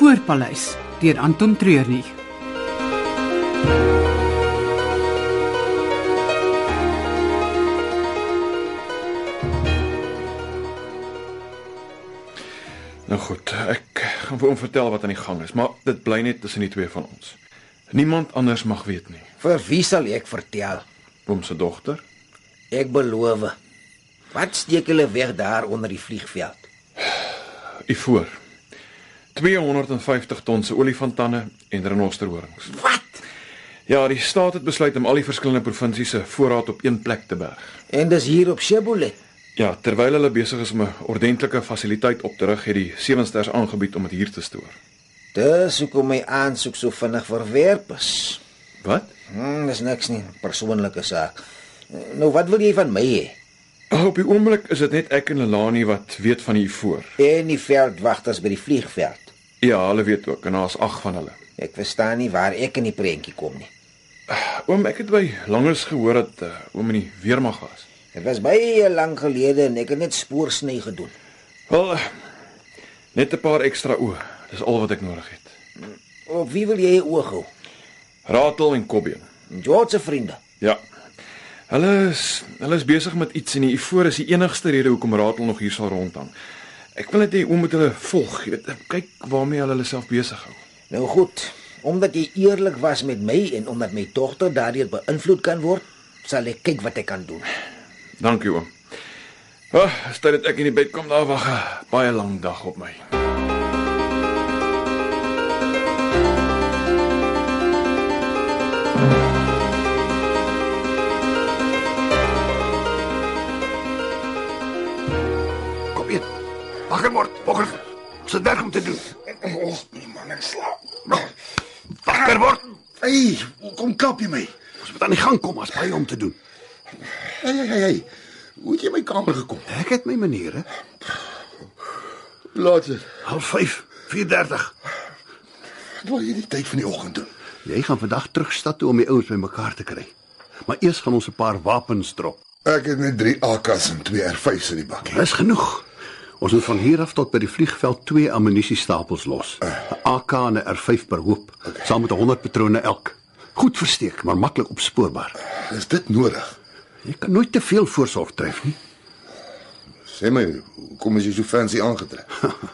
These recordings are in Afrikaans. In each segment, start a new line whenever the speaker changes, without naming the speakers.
Voorpaleis deur Anton Treurnig.
Nou goed, ek gaan vir hom vertel wat aan die gang is, maar dit bly net tussen die twee van ons. Niemand anders mag weet nie.
Vir wie sal ek vertel?
Oom se dogter?
Ek beloof. Wat steek hulle weg daar onder die vliegveld?
U voor. 250 ton se olifanttande en renosterhorings.
Wat?
Ja, die staat het besluit om al die verskillende provinsies se voorraad op een plek te berg.
En dis hier op Shebolet.
Ja, terwyl hulle besig is om 'n ordentlike fasiliteit op te rig, het die Sewensters aangebied om dit hier te stoor.
Dis hoekom my aansoek so vinnig verwerp is.
Wat?
Hmm, dis niks nie, persoonlike saak. Nou wat wil jy van my hê?
Op die oomblik is dit net ek en Lelani wat weet van hier voor.
En die veldwagters by die vliegveld.
Ja, hulle weet ook en daar's 8 van hulle.
Ek verstaan nie waar ek in die prentjie kom nie.
Oom, ek het by Langers gehoor dat uh, oom in die weermag was.
Dit was baie lank gelede en ek het net spoorsny gedoen.
Wel, eh, net 'n paar ekstra oë. Dis al wat ek nodig het.
Op wie wil jy oog hou?
Ratel en Kobbeen.
George se vriende.
Ja. Hulle is hulle is besig met iets en die ivoor is die enigste rede hoekom Ratel nog hier sal rondhang. Ek wil net hê oom moet hulle volg. Jy weet, kyk waarmee hulle hulle self besig hou.
Nou goed, omdat jy eerlik was met my en omdat my dogter daardeur beïnvloed kan word, sal ek kyk wat ek kan doen.
Dankie oom. Ag, oh, stel dit ek in die bed kom daar wag 'n baie lang dag op my.
Kom in. Wakker word, wakker. Ons het werk om te doen.
Ons nie man, ek Oh, slaap.
Wakker word.
Hey, kom klap jy my.
Ons moet aan die gang kom as baie om te doen.
Hey, hey, hey, hey. Hoe het jy my kamer gekom?
Ek het my maniere.
Laat dit.
Half 5, 4:30.
Wat wil jy die tyd van die oggend doen?
Jy gaan vandag terug stad toe om die ouens bymekaar te kry. Maar eers gaan ons 'n paar wapens drop.
Ek het net 3 AK's en 2 R5's in die bak.
Dis genoeg. Ons moet van hier af tot by die vliegveld twee ammunisiestapels los.
Eh,
'n AK en 'n R5 per hoop, saam met 100 patrone elk. Goed versteek, maar maklik opspoorbaar.
ah, Is dit nodig?
Jy kan nooit te veel voorsorg tref nie.
Sê my, hoekom is jy so fancy aangetrek?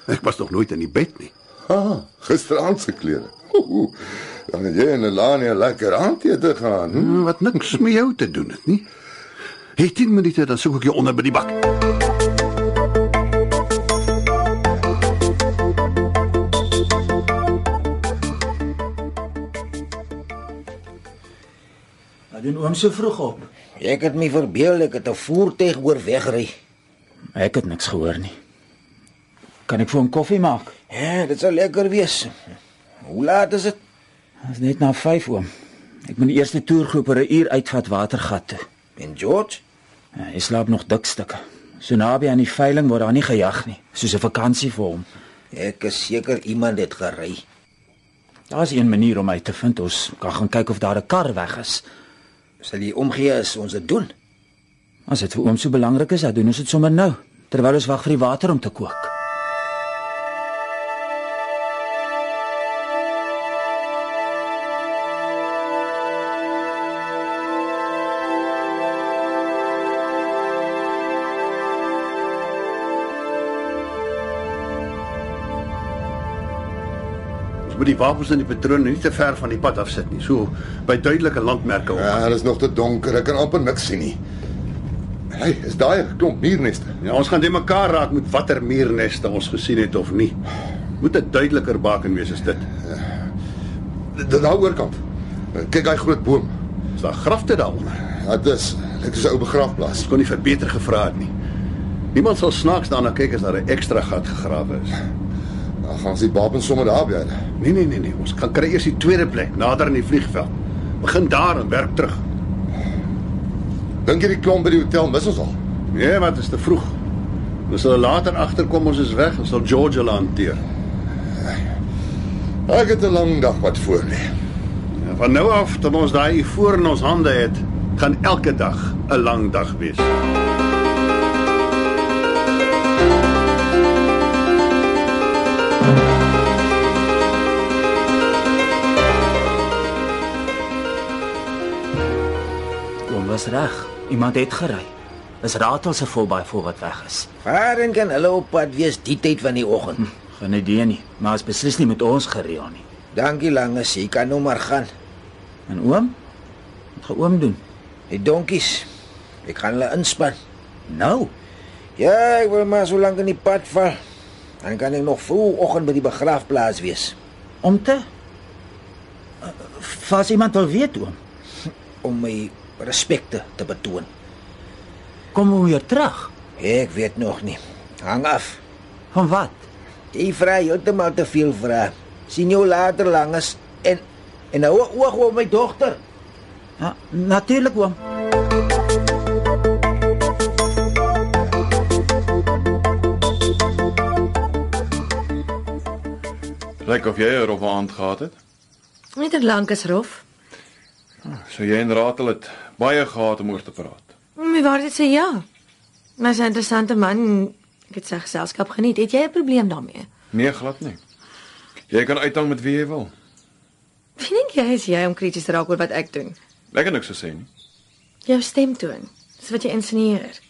Ek was nog nooit in die bed nie.
Ah, gisteraand se klere. Oeh, Dan het jy en Elani 'n lekker aandete gaan. Hm?
Hmm, Wat niks met jou te doen het nie. Hey 10 minute dan soek ek jou onder by die bak.
Wat doen oom so vroeg op?
Ek het my verbeel ek het 'n voertuig oor wegry.
Ek het niks gehoor nie. Kan ek vir hom koffie maak?
Ja, dit sal lekker wees. Hoe laat is dit?
Dit is net na 5 oom. Ek moet die eerste toergroep oor 'n uur uitvat watergat toe.
En George?
Ja, Hy slaap nog dik stukke. So naby aan die veiling word daar nie gejag nie, soos 'n vakansie vir hom.
Ek is seker iemand het gery.
Daar's een manier om hy te vind. Ons kan gaan kyk of daar 'n kar weg is.
Sal jy omgee as ons dit doen?
As dit vir oom so belangrik is, dan doen ons dit sommer nou, terwyl ons wag vir die water om te kook.
Ons moet die wapens en die patrone nie te ver van die pad af sit nie. So by duidelike landmerke op.
Ja, dit is nog te donker. Ek kan amper niks sien nie. Hey, is daai 'n klomp muurneste?
Ja, ons gaan dit mekaar raak met watter muurneste ons gesien het of nie. Moet 'n duideliker baken wees as dit.
D- d- Daar oorkant. Eh, Kyk daai groot boom.
Is daar grafte daaronder?
Ja, Dit is dit is 'n ou begraafplaas.
Ons kon nie vir beter gevra het nie. Niemand sal snaaks daarna kyk as daar 'n ekstra gat gegrawe is.
Dan gaan se wapens sommer daar by. hulle.
Nee nee nee nee, ons kan kry eers die tweede plek nader aan die vliegveld. Begin daar en werk terug.
Dink jy die klomp by die hotel mis ons al?
Nee, wat is te vroeg. Ons sal later agterkom ons is weg, ons sal George hulle hanteer.
Ek het 'n lang dag wat voor lê.
En Van nou af tot ons daai voor in ons hande het, gaan elke dag 'n lang dag wees.
Oom was reg. Iemand het gery. Is ratels se volby voor wat weg is.
Waarheen kan hulle op pad wees die tyd van die oggend?
Geen idee nie, maar is beslis nie met ons gereël nie.
Dankie langes, jy kan nou maar gaan.
En oom? Wat gaan oom doen?
Die donkies. Ek gaan hulle inspan.
Nou.
Ja, ek wil maar so lank in die pad val. Dan kan ek nog vroegoggend by die begraafplaas wees.
Om te Eh, Vas iemand wil weet oom.
om my respekte te betoon.
Kom hom weer terug.
Ek weet nog nie. Hang af.
Van wat?
Jy vra heeltemal te veel vrae. Sien jou later langes en en hou 'n oog op my dogter.
Ja, natuurlik oom.
Lyk of jy er op 'n aand gehad het.
Net 'n lankes rof.
So jy en Ratel het baie gehad om oor te praat.
Mm, My waarheid sê ja. Maar sy 'n interessante man. Ek het sy geselskap geniet. Het jy 'n probleem daarmee?
Nee, glad nie. Jy kan uithang met wie jy wil.
Wie dink jy is jy om krities te raak oor wat ek doen?
Ek kan niks gesê nie.
Jou stemtoon, dis wat jy insinieer.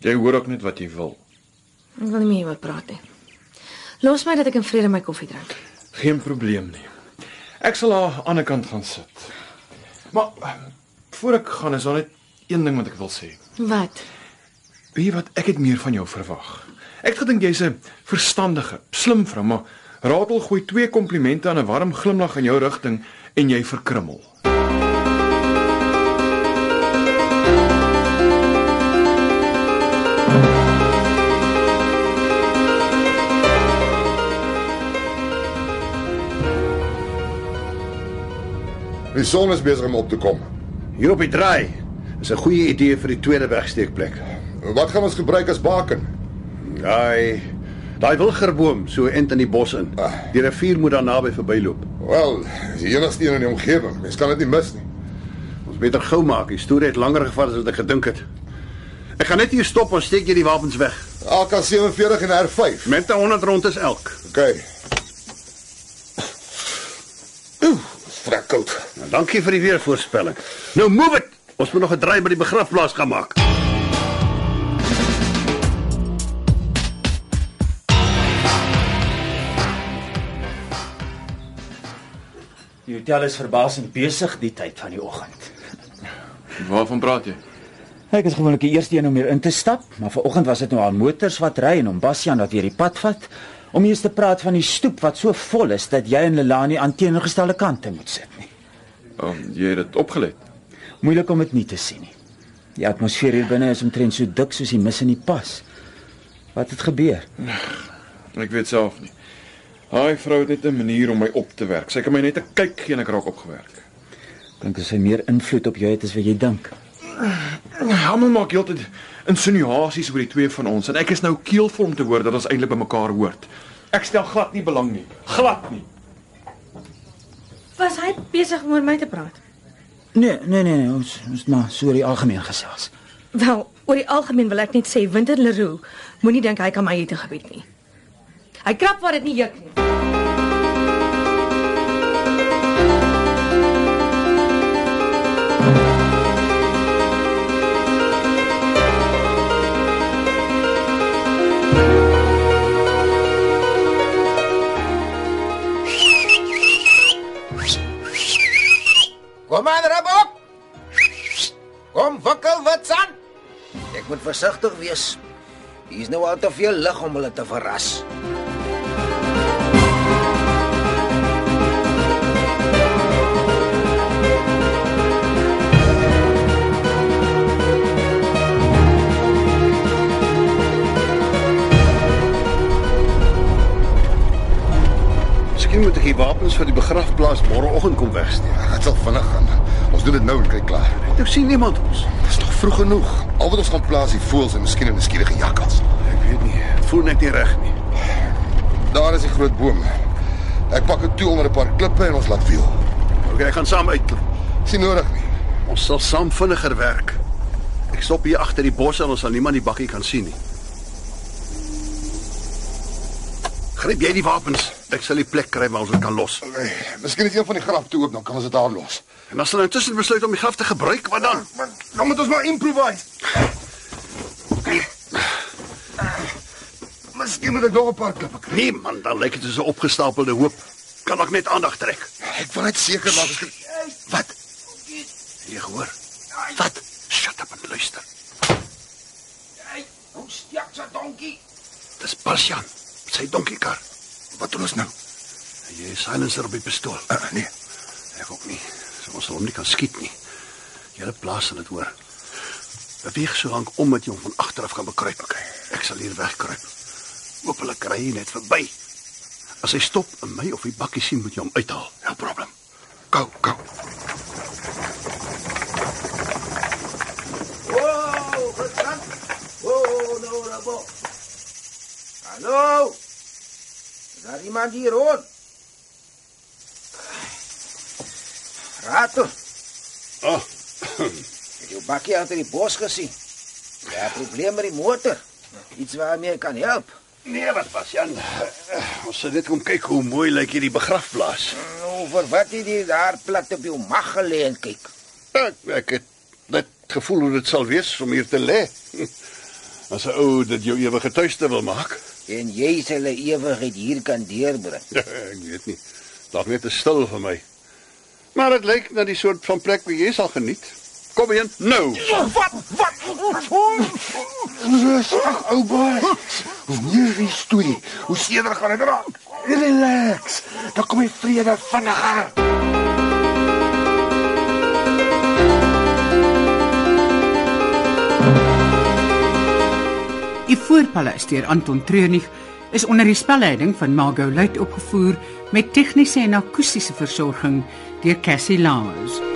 Jy hoor ook net wat jy wil.
Ek wil nie meer hieroor praat nie. Los my dat ek in vrede my koffie drink.
Geen probleem nie. Ek sal haar aan die ander kant gaan sit. Maar eh, voor ek gaan is daar net een ding wat ek wil sê.
Wat?
Weet jy wat, ek het meer van jou verwag. Ek het gedink jy's 'n verstandige, slim vrou, maar Ratel gooi twee komplimente aan 'n warm glimlag in jou rigting en jy verkrummel.
Die son is besig om op te kom.
Hier op die draai is 'n goeie idee vir die tweede wegsteekplek.
Wat gaan ons gebruik as baken?
Daai daai wilgerboom so end in die bos in. Die rivier moet daar naby verbyloop.
Wel, dis die enigste een in die omgewing. Mens kan dit nie mis nie.
Ons beter gou maak. Die storie het langer gevat as wat ek gedink het. Ek gaan net hier stop en steek jy die wapens weg.
AK47 en R5.
Met 'n 100 rond is elk.
OK. Oeh, vrek koud.
Nou, dankie vir die weervoorspelling. Nou move it. Ons moet nog 'n draai by die begrafplaas gaan maak.
Die hotel is verbaasend besig die tyd van die oggend.
Waarvan praat jy?
Ek is gewoonlik die eerste een om hier in te stap, maar vanoggend was dit nou al motors wat ry en om Bastian wat weer die pad vat om eers te praat van die stoep wat so vol is dat jy en Lelani aan teenoorgestelde kante moet sit nie.
Um, jy het dit opgelet.
Moeilik om dit nie te sien nie. Die atmosfeer hier binne is omtrent so dik soos die mis in die pas. Wat het gebeur?
Ek weet self nie. Daai vrou het net 'n manier om my op te werk. Sy kan my net 'n kyk gee en ek raak opgewerk.
Dink jy sy meer invloed op jou het as wat jy dink?
Hammel maak heeltyd insinuasies oor die twee van ons en ek is nou keelvol om te hoor dat ons eintlik by mekaar hoort. Ek stel glad nie belang nie. Glad nie.
Was hy besig om oor my te praat?
Nee, nee nee nee, ons ons maar so die algemeen gesels.
Wel, oor die algemeen wil ek net sê Winter Leroux moenie dink hy kan my hier te gebied nie. Hy krap waar dit nie juk nie.
Kom aan, rap op. Kom, wakkel wat aan. Ek moet versigtig wees. Hier is nou al te veel lig om hulle te verras.
Miskien moet ek die wapens vir die begrafplaas môreoggend kom wegsteek.
Ja, Ah, dit sal vinnig gaan. Ons doen dit nou en kyk klaar.
Ek sien niemand ons.
Dis nog vroeg genoeg. Al wat ons gaan plaas die voëls en miskien 'n nuuskierige jakkals.
Ek weet nie. Dit voel net nie reg nie.
Daar is die groot boom. Ek pak dit toe onder 'n paar klippe en ons laat wiel.
Okay, ek gaan saam uitklim.
Sien nodig nie.
Ons sal saam vinniger werk. Ek stop hier agter die bos en ons sal niemand die bakkie kan sien nie. Gryp jy die wapens. Ek sal die plek kry waar ons dit kan los.
Okay, miskien is een van die graf toe oop, dan kan ons dit daar los.
En as hulle intussen besluit om die graf te gebruik, wat dan?
Maar dan moet ons maar improvise. Miskien moet ek nog 'n paar klippe kry.
Nee man, dan lyk dit soos 'n opgestapelde hoop. Kan ek net aandag trek?
Ek wil net seker maak ek
Wat? Jy hoor? Wat? Shut up en luister.
Hoe steek se donkie?
Dis Basjan, sy donkiekar.
wat doen ons nou?
Jy is silencer op die pistool.
Uh, nee.
Ek ook nie. So ons sal hom nie kan skiet nie. Julle plaas sal dit hoor. Beweeg so lank om dat jy hom van agter af kan bekruip. Okay. Ek sal hier wegkruip. Hoop hulle kry hier net verby. As hy stop en my of die bakkie sien, moet jy hom uithaal. No problem. Go, go.
Wow, wat gaan? Wow, nou rabo. Hallo. Is daar iemand hier rond? Rato,
Ah, oh,
het jou bakkie agter die bos gesien. Jy het 'n probleem met die motor. Iets waarmee ek kan help.
nee, wat was Jan? Eh, Ons sal net kom kyk hoe mooi lyk hierdie begrafplaas.
Nou, vir wat het jy daar plat op jou mag gelê en kyk?
Ek ek het net gevoel hoe dit sal wees om hier te lê. As 'n ou dit jou ewige tuiste wil maak.
En jy sal 'n ewigheid hier kan deurbring.
Ja, ek weet nie. Dalk net te stil vir my. Maar dit lyk na die soort van plek wat jy sal geniet. Kom heen nou.
Wat? Wat?
Rustig, ou boy. Hoe meer die storie, hoe seerder gaan dit raak. Relax. Dan kom jy vrede vinniger.
Ivoorpaleis deur Anton Treurnig is onder die spelleiding van Margot Luit opgevoer met tegniese en akoestiese versorging deur Cassie Lawrence.